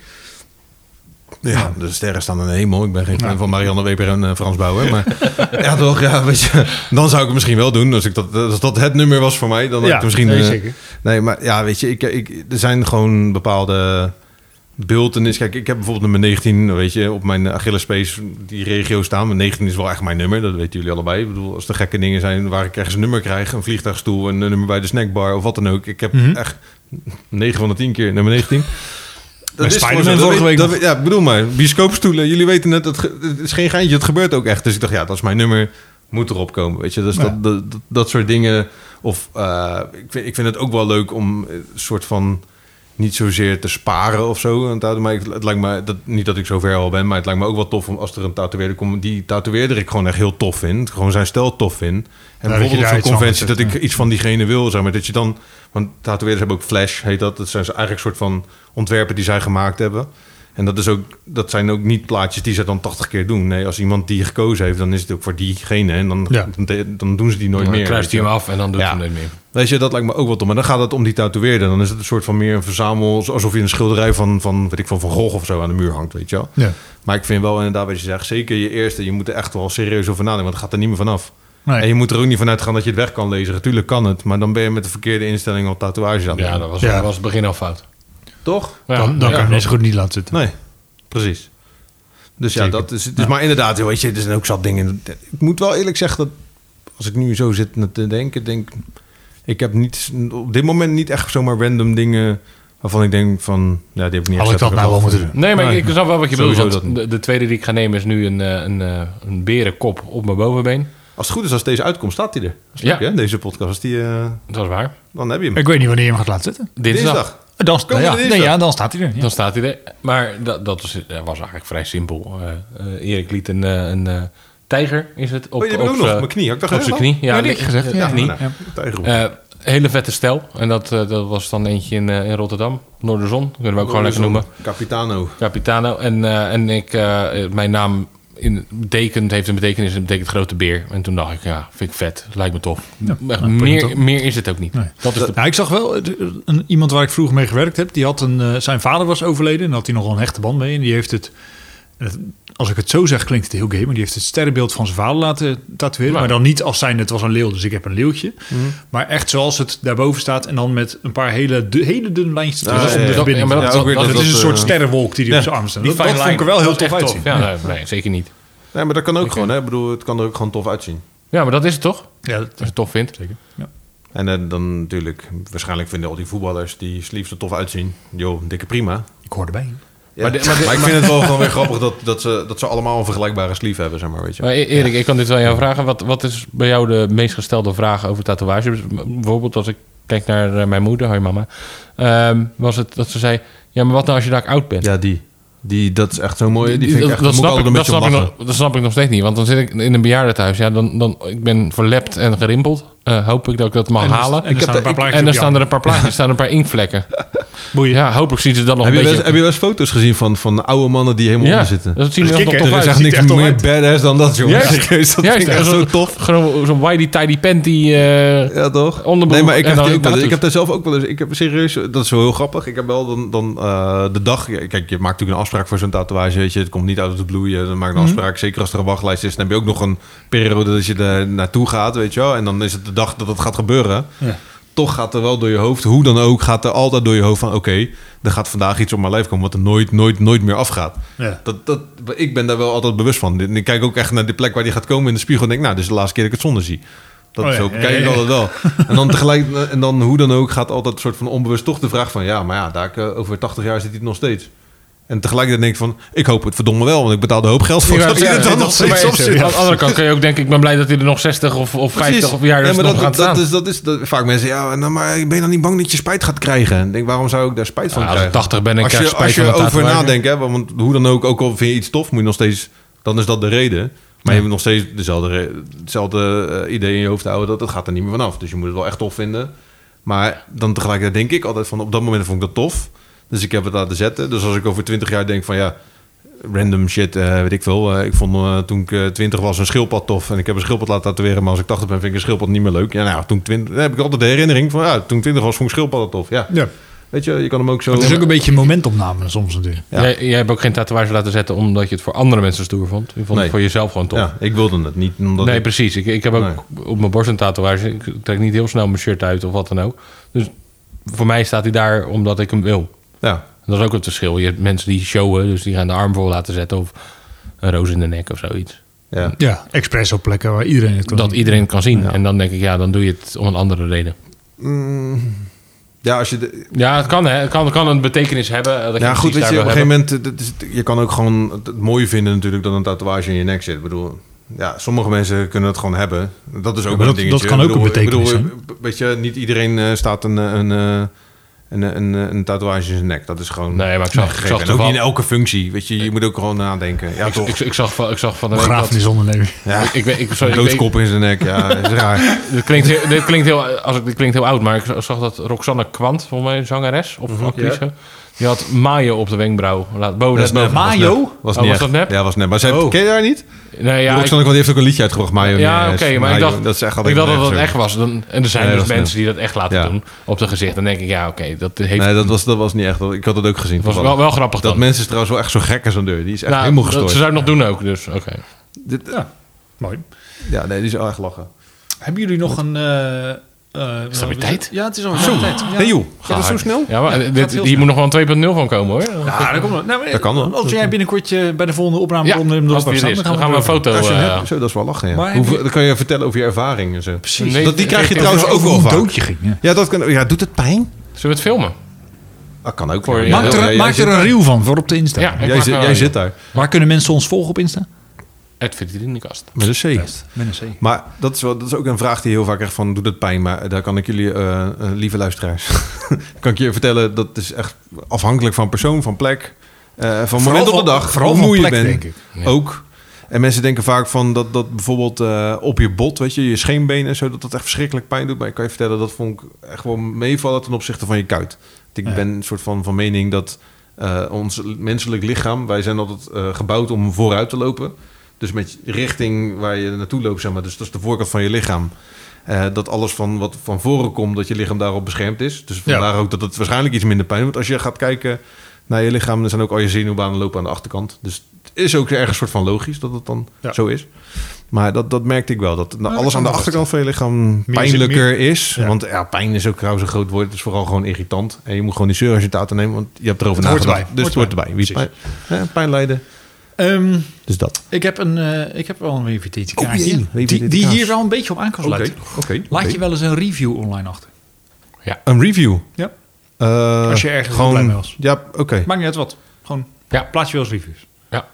[SPEAKER 2] Ja, de sterren staan aan de hemel. Ik ben geen fan van Marianne Weber en eh, Frans Bouwen.
[SPEAKER 3] *laughs*
[SPEAKER 2] Maar ja, toch, ja, weet je, dan zou ik het misschien wel doen. Als, ik dat, als dat het nummer was voor mij, dan had ik het misschien...
[SPEAKER 3] nee,
[SPEAKER 2] eh,
[SPEAKER 3] zeker.
[SPEAKER 2] Nee, maar ja, weet je, ik, ik, er zijn gewoon bepaalde bultenis. Kijk, ik heb bijvoorbeeld nummer 19, weet je, op mijn Achillespace die regio staan. Maar 19 is wel echt mijn nummer, dat weten jullie allebei. Ik bedoel, als er gekke dingen zijn waar ik ergens een nummer krijg, een vliegtuigstoel, een nummer bij de snackbar of wat dan ook. Ik heb
[SPEAKER 3] Mhm.
[SPEAKER 2] echt 9 van de 10 keer nummer 19.
[SPEAKER 3] Bij
[SPEAKER 2] is gewoon
[SPEAKER 3] Spider-Man
[SPEAKER 2] zo,
[SPEAKER 3] vorige
[SPEAKER 2] weet-
[SPEAKER 3] week nog.
[SPEAKER 2] weet- Ja, ik bedoel maar, bioscoopstoelen, jullie weten het, het, ge- het is geen geintje, het gebeurt ook echt. Dus ik dacht, ja, dat is mijn nummer, moet erop komen, weet je. Dus
[SPEAKER 3] Ja.
[SPEAKER 2] dat, dat, dat, dat soort dingen... Of eh, ik, vind, ik vind het ook wel leuk om eh, een soort van niet zozeer te sparen of zo. aan tatoe- Maar ik, het lijkt me, dat, niet dat ik zo ver al ben, maar het lijkt me ook wel tof om als er een tatoeëerder komt, die tatoeëerder ik gewoon echt heel tof vind. Gewoon zijn stijl tof vind. En
[SPEAKER 3] dat je
[SPEAKER 2] bijvoorbeeld op
[SPEAKER 3] daar
[SPEAKER 2] zo'n
[SPEAKER 3] iets aan
[SPEAKER 2] conventie dat
[SPEAKER 3] zet,
[SPEAKER 2] ik iets van diegene wil, zeg maar. Dat je dan, want tatoeëerders hebben ook flash, heet dat. Dat zijn ze eigenlijk een soort van ontwerpen die zij gemaakt hebben. En dat, is ook, dat zijn ook niet plaatjes die ze dan 80 keer doen. Nee, als iemand die gekozen heeft, dan is het ook voor diegene. En dan,
[SPEAKER 3] Ja.
[SPEAKER 2] dan, dan doen ze die nooit
[SPEAKER 4] Dan
[SPEAKER 2] meer.
[SPEAKER 4] kruist
[SPEAKER 2] weet je.
[SPEAKER 4] hij hem af en dan doet
[SPEAKER 2] Ja.
[SPEAKER 4] hij hem nooit meer.
[SPEAKER 2] Weet je, dat lijkt me ook wel tof. Maar dan gaat het om die tatoeëerder. Dan is het een soort van meer een verzamel... alsof je een schilderij van, van weet ik van, Van Gogh of zo aan de muur hangt, weet je wel.
[SPEAKER 3] Ja.
[SPEAKER 2] Maar ik vind wel inderdaad wat je zegt... zeker je eerste, je moet er echt wel serieus over nadenken... want het gaat er niet meer vanaf.
[SPEAKER 3] Nee.
[SPEAKER 2] En je moet er ook niet vanuit gaan dat je het weg kan lezen. Natuurlijk kan het, maar dan ben je met de verkeerde instelling al tatoeage aan het
[SPEAKER 4] Ja,
[SPEAKER 2] doen.
[SPEAKER 4] dat was,
[SPEAKER 3] Ja.
[SPEAKER 4] dat was het begin al fout.
[SPEAKER 2] Toch?
[SPEAKER 4] Ja,
[SPEAKER 3] dan dan
[SPEAKER 4] ja.
[SPEAKER 3] kan je net zo goed niet laten zitten.
[SPEAKER 2] Nee, precies. Dus ja,
[SPEAKER 3] Zeker.
[SPEAKER 2] dat is... Dus Maar inderdaad, joh, weet je, er zijn ook zat dingen... Ik moet wel eerlijk zeggen dat... als ik nu zo zit na te denken, denk... Ik heb niet, op dit moment niet echt zomaar random dingen... waarvan ik denk van... Ja, die heb ik niet
[SPEAKER 3] Had ik
[SPEAKER 2] echt
[SPEAKER 3] dat nou wel moeten doen?
[SPEAKER 4] Nee, maar ik, ik snap wel wat je bedoelt.
[SPEAKER 2] Sowieso
[SPEAKER 4] want
[SPEAKER 2] dat niet.
[SPEAKER 4] de, de tweede die ik ga nemen is nu een, eh, een, eh, een berenkop op mijn bovenbeen.
[SPEAKER 2] Als het goed is, als deze uitkomt, staat hij er. Dat is leuk,
[SPEAKER 4] Ja.
[SPEAKER 2] hè? Deze podcast, als die, eh,
[SPEAKER 4] Dat is waar.
[SPEAKER 2] dan heb je hem.
[SPEAKER 3] Ik weet niet wanneer je hem gaat laten zitten.
[SPEAKER 4] Dinsdag.
[SPEAKER 3] Dan, nou ja,
[SPEAKER 2] Komende
[SPEAKER 3] nee,
[SPEAKER 2] dinsdag.
[SPEAKER 3] ja, dan staat hij er. Ja.
[SPEAKER 4] Dan staat hij er. Maar dat, dat is, eh, was eigenlijk vrij simpel. Eh, eh, Erik liet een, eh, een eh, tijger, is het? Op,
[SPEAKER 2] Oh, je hebt ook nog.
[SPEAKER 3] eh,
[SPEAKER 4] zijn-
[SPEAKER 2] Mijn knie. Had ik dat
[SPEAKER 4] Op zijn
[SPEAKER 2] gezegd
[SPEAKER 4] knie. Ja,
[SPEAKER 3] Ja, die heb ik gezegd,
[SPEAKER 4] eh,
[SPEAKER 3] ja.
[SPEAKER 4] knie.
[SPEAKER 2] nou, nou, tijgerhoek.
[SPEAKER 4] Eh, hele vette stel. En dat, eh, dat was dan eentje in, eh, in Rotterdam. Noorderzon. Kunnen we ook gewoon lekker noemen.
[SPEAKER 2] Capitano.
[SPEAKER 4] Capitano. En, eh, en ik, eh, mijn naam in, betekent, heeft een betekenis en betekent grote beer. En toen dacht ik, ja, vind ik vet. Lijkt me tof. Echt,
[SPEAKER 3] nou, prima toch?
[SPEAKER 4] meer, meer is het ook niet.
[SPEAKER 3] Nee.
[SPEAKER 4] Dat is de,
[SPEAKER 3] Nou, ik zag wel eh, de- een, iemand waar ik vroeger mee gewerkt heb. Die had een, eh, zijn vader was overleden en had hij nogal een hechte band mee. En die heeft het, het- als ik het zo zeg, klinkt het heel gay. Maar die heeft het sterrenbeeld van zijn vader laten tatoeëren.
[SPEAKER 4] Nou.
[SPEAKER 3] Maar dan niet als zijn het was een leeuw, dus ik heb een leeuwtje. Maar echt zoals het daarboven staat. En dan met een paar hele, du- hele dunne lijntjes
[SPEAKER 2] Ah,
[SPEAKER 3] tussen
[SPEAKER 2] ja,
[SPEAKER 3] om de
[SPEAKER 2] ja.
[SPEAKER 3] verbinding.
[SPEAKER 4] Ja, maar
[SPEAKER 3] te
[SPEAKER 4] dat-
[SPEAKER 2] ook weer
[SPEAKER 3] maken.
[SPEAKER 4] dat-
[SPEAKER 3] het is een
[SPEAKER 2] eh,
[SPEAKER 3] soort sterrenwolk die hij
[SPEAKER 2] ja.
[SPEAKER 3] op zijn arm staat.
[SPEAKER 4] Die
[SPEAKER 3] Dat, dat
[SPEAKER 4] fine
[SPEAKER 3] vond ik er
[SPEAKER 4] line,
[SPEAKER 3] wel heel
[SPEAKER 4] dat is
[SPEAKER 3] tof
[SPEAKER 4] echt
[SPEAKER 3] uitzien.
[SPEAKER 4] Ja, nee, nee, zeker niet.
[SPEAKER 2] Nee, maar dat kan ook gewoon, hè? Ik bedoel, het kan er ook gewoon tof uitzien.
[SPEAKER 4] Ja, maar dat is het toch? Als
[SPEAKER 3] Ja, dat-
[SPEAKER 4] je het tof vindt.
[SPEAKER 3] zeker. Ja.
[SPEAKER 2] En eh, dan natuurlijk, waarschijnlijk vinden al die voetballers die sleeves er tof uitzien. Jo, dikke prima.
[SPEAKER 3] Ik hoor erbij.
[SPEAKER 2] Ja.
[SPEAKER 4] Maar
[SPEAKER 2] Maar,
[SPEAKER 4] de- maar de-
[SPEAKER 2] ik vind het *laughs* wel gewoon weer grappig dat, dat, ze, dat ze allemaal een vergelijkbare sleeve hebben, zeg maar, weet je.
[SPEAKER 4] Maar E- Erik, ik kan dit wel aan jou vragen. Wat, wat is bij jou de meest gestelde vraag over tatoeages? Bijvoorbeeld als ik kijk naar eh, mijn moeder, hoi mama. Ehm, was het dat ze zei, ja, maar wat nou als je daar oud bent?
[SPEAKER 2] Ja, die. die. Dat is echt zo mooi. Die
[SPEAKER 4] Die-
[SPEAKER 2] vind ik echt,
[SPEAKER 4] dat,
[SPEAKER 2] dat moet ik
[SPEAKER 4] snap
[SPEAKER 2] altijd
[SPEAKER 4] ik,
[SPEAKER 2] een beetje om
[SPEAKER 4] dat, snap ik
[SPEAKER 2] lachen.
[SPEAKER 4] nog, dat snap ik nog steeds niet. Want dan zit ik in een bejaardentehuis. Ja, dan, dan, ik ben verlept en gerimpeld. Eh, hoop ik dat ik dat mag
[SPEAKER 3] En er-
[SPEAKER 4] halen.
[SPEAKER 3] En er staan een paar plaatjes
[SPEAKER 4] en dan
[SPEAKER 3] op je
[SPEAKER 4] staan er een paar plaatjes, staan er een paar
[SPEAKER 2] *laughs*
[SPEAKER 4] inkvlekken.
[SPEAKER 3] Boeien.
[SPEAKER 4] Ja, hopelijk zien ze dan nog
[SPEAKER 2] Heb je,
[SPEAKER 4] een
[SPEAKER 2] wel
[SPEAKER 4] beetje...
[SPEAKER 2] eens, heb je wel eens foto's gezien van, van oude mannen die helemaal
[SPEAKER 4] ja,
[SPEAKER 2] onder zitten?
[SPEAKER 4] dat zien
[SPEAKER 3] Dat
[SPEAKER 4] er
[SPEAKER 3] is
[SPEAKER 4] nog
[SPEAKER 3] kikker,
[SPEAKER 4] tof
[SPEAKER 2] er is echt
[SPEAKER 4] uit.
[SPEAKER 3] ziet er
[SPEAKER 2] niks
[SPEAKER 3] echt tof
[SPEAKER 2] meer
[SPEAKER 3] uit.
[SPEAKER 2] badass dan dat, jongen. *laughs*
[SPEAKER 4] Juist.
[SPEAKER 2] Serieus, dat
[SPEAKER 4] Juist,
[SPEAKER 2] vind ik echt
[SPEAKER 4] en
[SPEAKER 2] zo
[SPEAKER 4] zo'n-
[SPEAKER 2] tof.
[SPEAKER 4] Gewoon zo'n whitey-tidy panty... eh,
[SPEAKER 2] Ja, toch?
[SPEAKER 4] Onderbroek
[SPEAKER 2] nee, maar ik
[SPEAKER 4] en
[SPEAKER 2] heb,
[SPEAKER 4] dan
[SPEAKER 2] die
[SPEAKER 4] die
[SPEAKER 2] ook wel eens- ik
[SPEAKER 4] tattoos.
[SPEAKER 2] heb daar zelf ook wel eens... Ik heb serieus... Dat is wel heel grappig. Ik heb wel dan, dan eh, de dag... ja, Kijk, je maakt natuurlijk een afspraak voor zo'n tatoeage. Weet je, het komt niet uit de blue. Je maakt een afspraak. Zeker als er een wachtlijst is. Dan heb je ook nog een periode dat je er naartoe gaat, weet je wel. En dan is het de dag dat het gaat gebeuren.
[SPEAKER 3] Ja.
[SPEAKER 2] Toch gaat er wel door je hoofd, hoe dan ook, gaat er altijd door je hoofd van... Oké, er gaat vandaag iets op mijn lijf komen wat er nooit, nooit, nooit meer afgaat.
[SPEAKER 3] Ja.
[SPEAKER 2] Dat, dat, ik ben daar wel altijd bewust van. En Ik kijk ook echt naar de plek waar die gaat komen in de spiegel. En denk, nou, dit is de laatste keer dat ik het zonder zie. Dat
[SPEAKER 3] Oh ja,
[SPEAKER 2] zo
[SPEAKER 3] ja,
[SPEAKER 2] kijk ik
[SPEAKER 3] ja, ja.
[SPEAKER 2] altijd wel. En dan tegelijk, en dan hoe dan ook, gaat altijd een soort van onbewust toch de vraag van... Ja, maar ja, daar, eh, over 80 jaar zit hij nog steeds. En tegelijkertijd denk ik van, ik hoop het verdomme wel. Want ik betaal de hoop geld voor
[SPEAKER 4] Ja,
[SPEAKER 2] dat
[SPEAKER 4] ja,
[SPEAKER 2] hij er
[SPEAKER 4] ja,
[SPEAKER 2] dan nog
[SPEAKER 4] dat-
[SPEAKER 2] steeds
[SPEAKER 4] maar
[SPEAKER 2] op zit.
[SPEAKER 4] Aan de andere kant kan je ook denken... ik ben blij dat hij er nog 60 of, of 50 of jaar
[SPEAKER 2] Ja,
[SPEAKER 4] dus
[SPEAKER 2] maar
[SPEAKER 4] nog
[SPEAKER 2] dat,
[SPEAKER 4] gaat staan.
[SPEAKER 2] dat is, dat is dat, vaak mensen, ja, nou, maar ben je dan niet bang dat je spijt gaat krijgen? En ik denk, waarom zou ik daar spijt van
[SPEAKER 4] Ja, als ik
[SPEAKER 2] krijgen?
[SPEAKER 4] 80 ben en
[SPEAKER 2] als
[SPEAKER 4] krijg
[SPEAKER 2] je,
[SPEAKER 4] spijt
[SPEAKER 2] als je
[SPEAKER 4] van de
[SPEAKER 2] over
[SPEAKER 4] tatoeage.
[SPEAKER 2] nadenkt, hè, want hoe dan ook, ook al vind je iets tof, moet je nog steeds, dan is dat de reden. Maar je moet nog steeds dezelfde, re- hetzelfde eh, idee in je hoofd houden, dat het gaat er niet meer vanaf. Dus je moet het wel echt tof vinden. Maar dan tegelijkertijd denk ik altijd van, op dat moment vond ik dat tof. Dus ik heb het laten zetten. Dus als ik over 20 jaar denk van, ja, random shit, eh, weet ik veel. Eh, ik vond eh, toen ik eh, 20 was een schildpad tof en ik heb een schildpad laten tatoeëren. Maar als ik 80 ben, vind ik een schildpad niet meer leuk. Ja, nou, toen 20, dan heb ik altijd de herinnering van, ja, toen ik 20 was, vond ik schildpad tof. Ja,
[SPEAKER 3] Ja.
[SPEAKER 2] Weet je, je kan hem ook zo...
[SPEAKER 3] Het is ook een beetje een momentopname soms natuurlijk.
[SPEAKER 2] Ja.
[SPEAKER 4] Jij, jij hebt ook geen tatoeage laten zetten omdat je het voor andere mensen stoer vond. Je vond
[SPEAKER 2] Nee.
[SPEAKER 4] het voor jezelf gewoon tof.
[SPEAKER 2] ja, ik wilde het niet. Omdat
[SPEAKER 4] nee,
[SPEAKER 2] ik-
[SPEAKER 4] precies. Ik, ik heb ook op mijn borst een tatoeage. Ik trek niet heel snel mijn shirt uit of wat dan ook. Dus voor mij staat hij daar omdat ik hem wil.
[SPEAKER 2] ja,
[SPEAKER 4] En dat is ook het verschil. Je hebt mensen die showen, dus die gaan de arm voor laten zetten of een roos in de nek of zoiets.
[SPEAKER 2] ja.
[SPEAKER 3] Ja, expres op plekken waar iedereen het kan
[SPEAKER 4] Dat
[SPEAKER 3] zien.
[SPEAKER 4] iedereen kan zien. En dan denk ik, ja, dan doe je het om een andere reden.
[SPEAKER 2] ja, als je... de-
[SPEAKER 4] Ja, het kan, hè. Het kan, kan een betekenis hebben. eh, Dat je
[SPEAKER 2] ja,
[SPEAKER 4] precies
[SPEAKER 2] goed, weet
[SPEAKER 4] daar
[SPEAKER 2] je, op
[SPEAKER 4] wil
[SPEAKER 2] een gegeven
[SPEAKER 4] hebben.
[SPEAKER 2] moment... dat is- je kan ook gewoon het, het mooie vinden natuurlijk dat een tatoeage in je nek zit. Ik bedoel, ja, sommige mensen kunnen het gewoon hebben. Dat is ook
[SPEAKER 3] maar
[SPEAKER 2] wel een
[SPEAKER 3] dat-
[SPEAKER 2] dingetje.
[SPEAKER 3] dat kan ook
[SPEAKER 2] Ik bedoel,
[SPEAKER 3] een betekenis
[SPEAKER 2] ik bedoel, Weet je, niet iedereen eh, staat een, eh, een, eh, een, eh, een, eh, een tatoeage in zijn nek. Dat is gewoon...
[SPEAKER 4] Nee, maar ik zag, ik
[SPEAKER 2] gegeven.
[SPEAKER 4] zag
[SPEAKER 2] En ook niet in
[SPEAKER 4] toevallig...
[SPEAKER 2] elke functie. Weet je, je moet ook gewoon nadenken. Ja,
[SPEAKER 4] Ik,
[SPEAKER 2] toch.
[SPEAKER 4] ik, ik zag, van- ik zag van de week dat...
[SPEAKER 3] Begrafenis ondernemen.
[SPEAKER 2] ja,
[SPEAKER 4] Ik, ik, weet- ik, sorry, ik, weet-
[SPEAKER 2] doodskop in zijn nek. Ja, dat is raar.
[SPEAKER 4] Dit klinkt, heel- dit, klinkt heel, als ik, dit klinkt heel oud, maar ik zag dat Roxanne Kwant, volgens mij zangeres of actrice, die had mayo op de wenkbrauw. Laat, boven
[SPEAKER 2] Mhm. Dat is nou- nep,
[SPEAKER 4] Ma-
[SPEAKER 2] was
[SPEAKER 3] Mayo?
[SPEAKER 2] nep. Was,
[SPEAKER 4] Oh,
[SPEAKER 2] niet
[SPEAKER 4] was
[SPEAKER 2] echt.
[SPEAKER 4] dat nep?
[SPEAKER 2] Ja, was nep. Maar ze
[SPEAKER 4] Oh.
[SPEAKER 2] ken je daar niet?
[SPEAKER 4] nee, ja,
[SPEAKER 2] Ja,
[SPEAKER 4] ik,
[SPEAKER 2] Roxanne Kwant heeft ook een liedje uitgebracht, Mayo.
[SPEAKER 4] ja oké,
[SPEAKER 2] Yes,
[SPEAKER 4] maar ik
[SPEAKER 2] Mayo.
[SPEAKER 4] dacht
[SPEAKER 2] dat, is echt
[SPEAKER 4] ik dacht dat dat
[SPEAKER 2] nergens
[SPEAKER 4] echt was. Dan, en er zijn
[SPEAKER 2] Nee,
[SPEAKER 4] dus
[SPEAKER 2] dat is
[SPEAKER 4] mensen die dat echt laten
[SPEAKER 2] Ja.
[SPEAKER 4] doen op de gezicht. Dan denk ik, ja oké, dat heeft,
[SPEAKER 2] Nee, dat was, dat was niet echt. Ik had het ook gezien.
[SPEAKER 4] was wel,
[SPEAKER 2] toevallig.
[SPEAKER 4] wel grappig
[SPEAKER 2] dat
[SPEAKER 4] dan.
[SPEAKER 2] mensen is trouwens wel echt zo gek als een deur. Die is echt
[SPEAKER 4] Nou,
[SPEAKER 2] helemaal
[SPEAKER 4] dat-
[SPEAKER 2] gestoord.
[SPEAKER 4] Ze zou het nog doen ook, dus oké.
[SPEAKER 2] Dit-
[SPEAKER 3] Mooi.
[SPEAKER 2] ja, nee, die is wel echt lachen.
[SPEAKER 3] Hebben jullie nog een... eh eh,
[SPEAKER 4] dat weer tijd?
[SPEAKER 3] Ja, het is alweer weer tijd. Ja.
[SPEAKER 2] Nee joh, gaat
[SPEAKER 4] Ga
[SPEAKER 2] dat zo
[SPEAKER 4] hard.
[SPEAKER 2] snel?
[SPEAKER 4] Ja, maar dit-
[SPEAKER 3] gaat heel
[SPEAKER 4] hier
[SPEAKER 3] snel.
[SPEAKER 4] moet nog wel een 2.0 van komen hoor.
[SPEAKER 3] Ja, dat komt wel. Nou, maar-
[SPEAKER 2] Dat kan wel.
[SPEAKER 3] Als jij binnenkort je bij de volgende opname
[SPEAKER 4] Ja,
[SPEAKER 3] onder hem erop
[SPEAKER 4] als die
[SPEAKER 3] hebt
[SPEAKER 4] er
[SPEAKER 3] staan,
[SPEAKER 4] is, dan gaan we een
[SPEAKER 3] door.
[SPEAKER 4] foto...
[SPEAKER 2] Als je hem
[SPEAKER 4] eh,
[SPEAKER 2] hebt, zo, dat is wel lachen, ja.
[SPEAKER 3] Maar-
[SPEAKER 2] Hoeveel- dan kan je vertellen over je ervaring en zo.
[SPEAKER 3] Precies.
[SPEAKER 4] Nee,
[SPEAKER 2] Dat, die krijg je
[SPEAKER 4] ik-
[SPEAKER 2] trouwens
[SPEAKER 3] Over
[SPEAKER 2] ook wel
[SPEAKER 3] hoe
[SPEAKER 2] vaak.
[SPEAKER 3] doodje ging. ja.
[SPEAKER 2] Ja, dat kan, ja, doet het pijn?
[SPEAKER 4] Zullen we het filmen?
[SPEAKER 2] Dat kan ook.
[SPEAKER 4] Voor
[SPEAKER 2] ja.
[SPEAKER 4] je-
[SPEAKER 2] Ja,
[SPEAKER 3] Maak
[SPEAKER 2] ja,
[SPEAKER 3] er,
[SPEAKER 2] jij
[SPEAKER 3] maak
[SPEAKER 2] zit
[SPEAKER 3] er een
[SPEAKER 2] daar.
[SPEAKER 3] reel van voor op de Insta.
[SPEAKER 4] Ja, ik
[SPEAKER 2] Jij
[SPEAKER 4] maak
[SPEAKER 2] zit-
[SPEAKER 4] er
[SPEAKER 2] Jij
[SPEAKER 4] een-
[SPEAKER 2] zit daar.
[SPEAKER 3] Waar kunnen mensen ons volgen op Insta?
[SPEAKER 4] Het vitrinekast.
[SPEAKER 2] Met een C.
[SPEAKER 3] Met een C.
[SPEAKER 2] Maar dat is, wel, dat is ook een vraag die je heel vaak krijgt van... doet het pijn? Maar daar kan ik jullie, eh, eh, lieve luisteraars... *laughs* kan ik je vertellen, dat is echt afhankelijk van persoon, van plek... eh, van moment op de dag,
[SPEAKER 3] Vooral
[SPEAKER 2] hoe
[SPEAKER 3] van
[SPEAKER 2] moe je
[SPEAKER 3] plek,
[SPEAKER 2] bent.
[SPEAKER 3] denk ik.
[SPEAKER 4] Ja.
[SPEAKER 2] Ook. En mensen denken vaak van dat, dat bijvoorbeeld eh, op je bot, weet je, je scheenbeen en zo, dat dat echt verschrikkelijk pijn doet. Maar ik kan je vertellen, dat vond ik echt wel meevallen ten opzichte van je kuit. Want Ik
[SPEAKER 3] Ja.
[SPEAKER 2] ben een soort van, van mening dat eh, ons menselijk lichaam, wij zijn altijd eh, gebouwd om vooruit te lopen. Dus met richting waar je naartoe loopt, zeg maar. Dus dat is de voorkant van je lichaam. Eh, dat alles van wat van voren komt, dat je lichaam daarop beschermd is. Dus vandaar ook dat het waarschijnlijk iets minder pijn doet. Als je gaat kijken naar je lichaam, dan zijn ook al je zenuwbanen lopen aan de achterkant. Dus het is ook ergens een soort van logisch dat het dan
[SPEAKER 3] Ja.
[SPEAKER 2] zo is. Maar dat, dat merkte ik wel. Dat nou,
[SPEAKER 3] dat
[SPEAKER 2] alles aan
[SPEAKER 3] kan
[SPEAKER 2] de
[SPEAKER 3] wel
[SPEAKER 2] achterkant van je lichaam
[SPEAKER 3] Meer-
[SPEAKER 2] pijnlijker is.
[SPEAKER 3] Ja.
[SPEAKER 2] Want ja, pijn is ook trouwens een groot woord. Het is vooral gewoon irritant. En je moet gewoon die zeur als je het aan neemt, want je hebt erover
[SPEAKER 3] Het hoort
[SPEAKER 2] nagedacht.
[SPEAKER 3] erbij.
[SPEAKER 2] Dus het hoort erbij. Wie het pijn,
[SPEAKER 3] Precies.
[SPEAKER 2] ja, pijn lijden,
[SPEAKER 3] Ehm,
[SPEAKER 2] dus dat.
[SPEAKER 3] ik, heb een, eh, ik heb wel een
[SPEAKER 2] Oh,
[SPEAKER 3] WVT-kaartje.
[SPEAKER 2] jee,
[SPEAKER 3] die, die
[SPEAKER 2] WVT-kaas.
[SPEAKER 3] hier wel een beetje op aan kan
[SPEAKER 2] Oké,
[SPEAKER 3] sluiten.
[SPEAKER 2] oké.
[SPEAKER 3] Laat
[SPEAKER 2] oké.
[SPEAKER 3] je wel eens een review online achter.
[SPEAKER 2] Een review?
[SPEAKER 3] Ja.
[SPEAKER 2] Eh,
[SPEAKER 3] Als je ergens
[SPEAKER 2] gewoon,
[SPEAKER 3] blij mee was.
[SPEAKER 2] Ja, oké.
[SPEAKER 3] Maakt niet uit wat. Gewoon
[SPEAKER 4] Ja.
[SPEAKER 3] plaats je wel eens reviews.
[SPEAKER 4] Ja,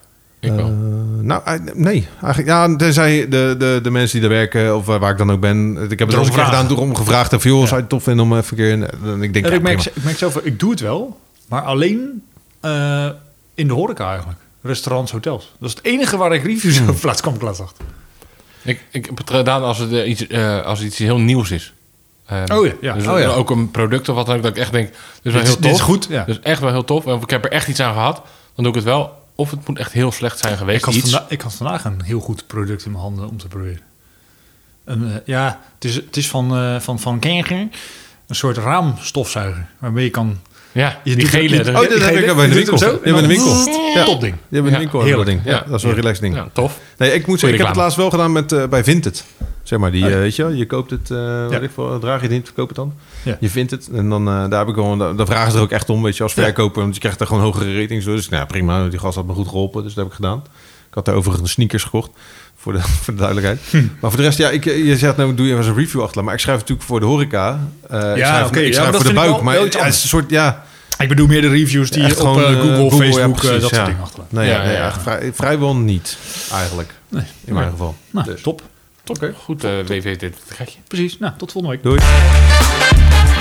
[SPEAKER 4] ik wel.
[SPEAKER 2] Eh, nou, eh, nee. Eigenlijk, ja, tenzij de, de, de mensen die daar werken of eh, waar ik dan ook ben. eh, Ik heb het al eens een keer
[SPEAKER 3] vragen.
[SPEAKER 2] gedaan door om gevraagd. Of joh, zou je het tof vinden om eh, even een keer... een- en ik denk,
[SPEAKER 3] En
[SPEAKER 2] ja,
[SPEAKER 3] ik, merk,
[SPEAKER 2] prima.
[SPEAKER 3] ik merk zelf, wel, ik doe het wel, maar alleen eh, in de horeca eigenlijk. Restaurants, hotels. Dat is het enige waar ik reviews over plaats kwam Hmm. ik laatst achter.
[SPEAKER 4] Ik, ik heb het gedaan als het, eh, iets, eh, als iets heel nieuws is. Eh,
[SPEAKER 3] Oh ja, ja.
[SPEAKER 4] Dus
[SPEAKER 3] Oh ja.
[SPEAKER 4] ook een product of wat dan ook, dat ik echt denk, dit is wel
[SPEAKER 3] is-
[SPEAKER 4] heel tof.
[SPEAKER 3] dit is goed, ja.
[SPEAKER 4] Dit is echt wel heel tof. Of ik heb er echt iets aan gehad, dan doe ik het wel. Of het moet echt heel slecht zijn
[SPEAKER 3] Ik
[SPEAKER 4] geweest,
[SPEAKER 3] had,
[SPEAKER 4] iets.
[SPEAKER 3] vanda- ik had vandaag een heel goed product in mijn handen om te proberen. Een, eh, ja, het is, het is van, eh van, van Kenker. Een soort raamstofzuiger. Waarmee je kan...
[SPEAKER 4] Ja,
[SPEAKER 3] Je
[SPEAKER 4] die
[SPEAKER 3] doet-
[SPEAKER 4] gele.
[SPEAKER 3] je-
[SPEAKER 4] de-
[SPEAKER 2] Oh, dit heb ik bij in de winkel.
[SPEAKER 3] Zo,
[SPEAKER 2] Je bent in de winkel.
[SPEAKER 3] Ja. Top ding.
[SPEAKER 2] Je bent in de
[SPEAKER 4] Ja,
[SPEAKER 2] winkel.
[SPEAKER 3] heerlijk.
[SPEAKER 2] dat ding. Ja, dat is wel een relaxed ding.
[SPEAKER 4] Ja, tof.
[SPEAKER 2] Nee, ik moet zeggen, ik heb het
[SPEAKER 4] reclame.
[SPEAKER 2] laatst wel gedaan met, eh, bij Vinted. Zeg maar, die,
[SPEAKER 3] Oh
[SPEAKER 2] eh, weet je wel, je koopt het, eh weet ik veel, draag je het niet, verkoop het dan.
[SPEAKER 3] Ja.
[SPEAKER 2] Je vindt het en dan eh, daar heb ik gewoon, daar, daar vragen ze er ook echt om, weet je, als verkoper. Want je krijgt daar gewoon hogere ratings door. Dus nou, ja, prima, die gast had me goed geholpen, dus dat heb ik gedaan. Ik had daar overigens sneakers gekocht, voor de, *laughs* voor de duidelijkheid.
[SPEAKER 3] Hm.
[SPEAKER 2] Maar voor de rest, ja, ik, je zegt nou, doe je even een review achter. Maar ik schrijf natuurlijk voor de horeca. Eh, ik
[SPEAKER 3] Ja,
[SPEAKER 2] schrijf,
[SPEAKER 3] oké,
[SPEAKER 2] ik
[SPEAKER 3] ja,
[SPEAKER 2] schrijf
[SPEAKER 3] maar dat
[SPEAKER 2] voor de
[SPEAKER 3] vind ik
[SPEAKER 2] buik.
[SPEAKER 3] wel-
[SPEAKER 2] maar
[SPEAKER 3] wel
[SPEAKER 2] ja,
[SPEAKER 3] iets
[SPEAKER 2] het is een
[SPEAKER 3] anders.
[SPEAKER 2] soort, ja...
[SPEAKER 3] Ik bedoel meer de reviews die je op
[SPEAKER 2] Echt gewoon
[SPEAKER 3] eh,
[SPEAKER 2] eh,
[SPEAKER 3] Google,
[SPEAKER 2] ja,
[SPEAKER 3] Facebook, eh,
[SPEAKER 2] precies,
[SPEAKER 3] dat
[SPEAKER 2] ja.
[SPEAKER 3] soort dingen achterlaat.
[SPEAKER 2] Nee,
[SPEAKER 4] Ja,
[SPEAKER 2] ja, nee,
[SPEAKER 4] ja.
[SPEAKER 2] ja, vrij- vrijwel niet, eigenlijk. In mijn geval.
[SPEAKER 3] Nou,
[SPEAKER 2] Dus.
[SPEAKER 3] top.
[SPEAKER 4] Top. Goed, eh WV, dit krijg je.
[SPEAKER 3] Precies. Nou, tot volgende week.
[SPEAKER 2] Doei.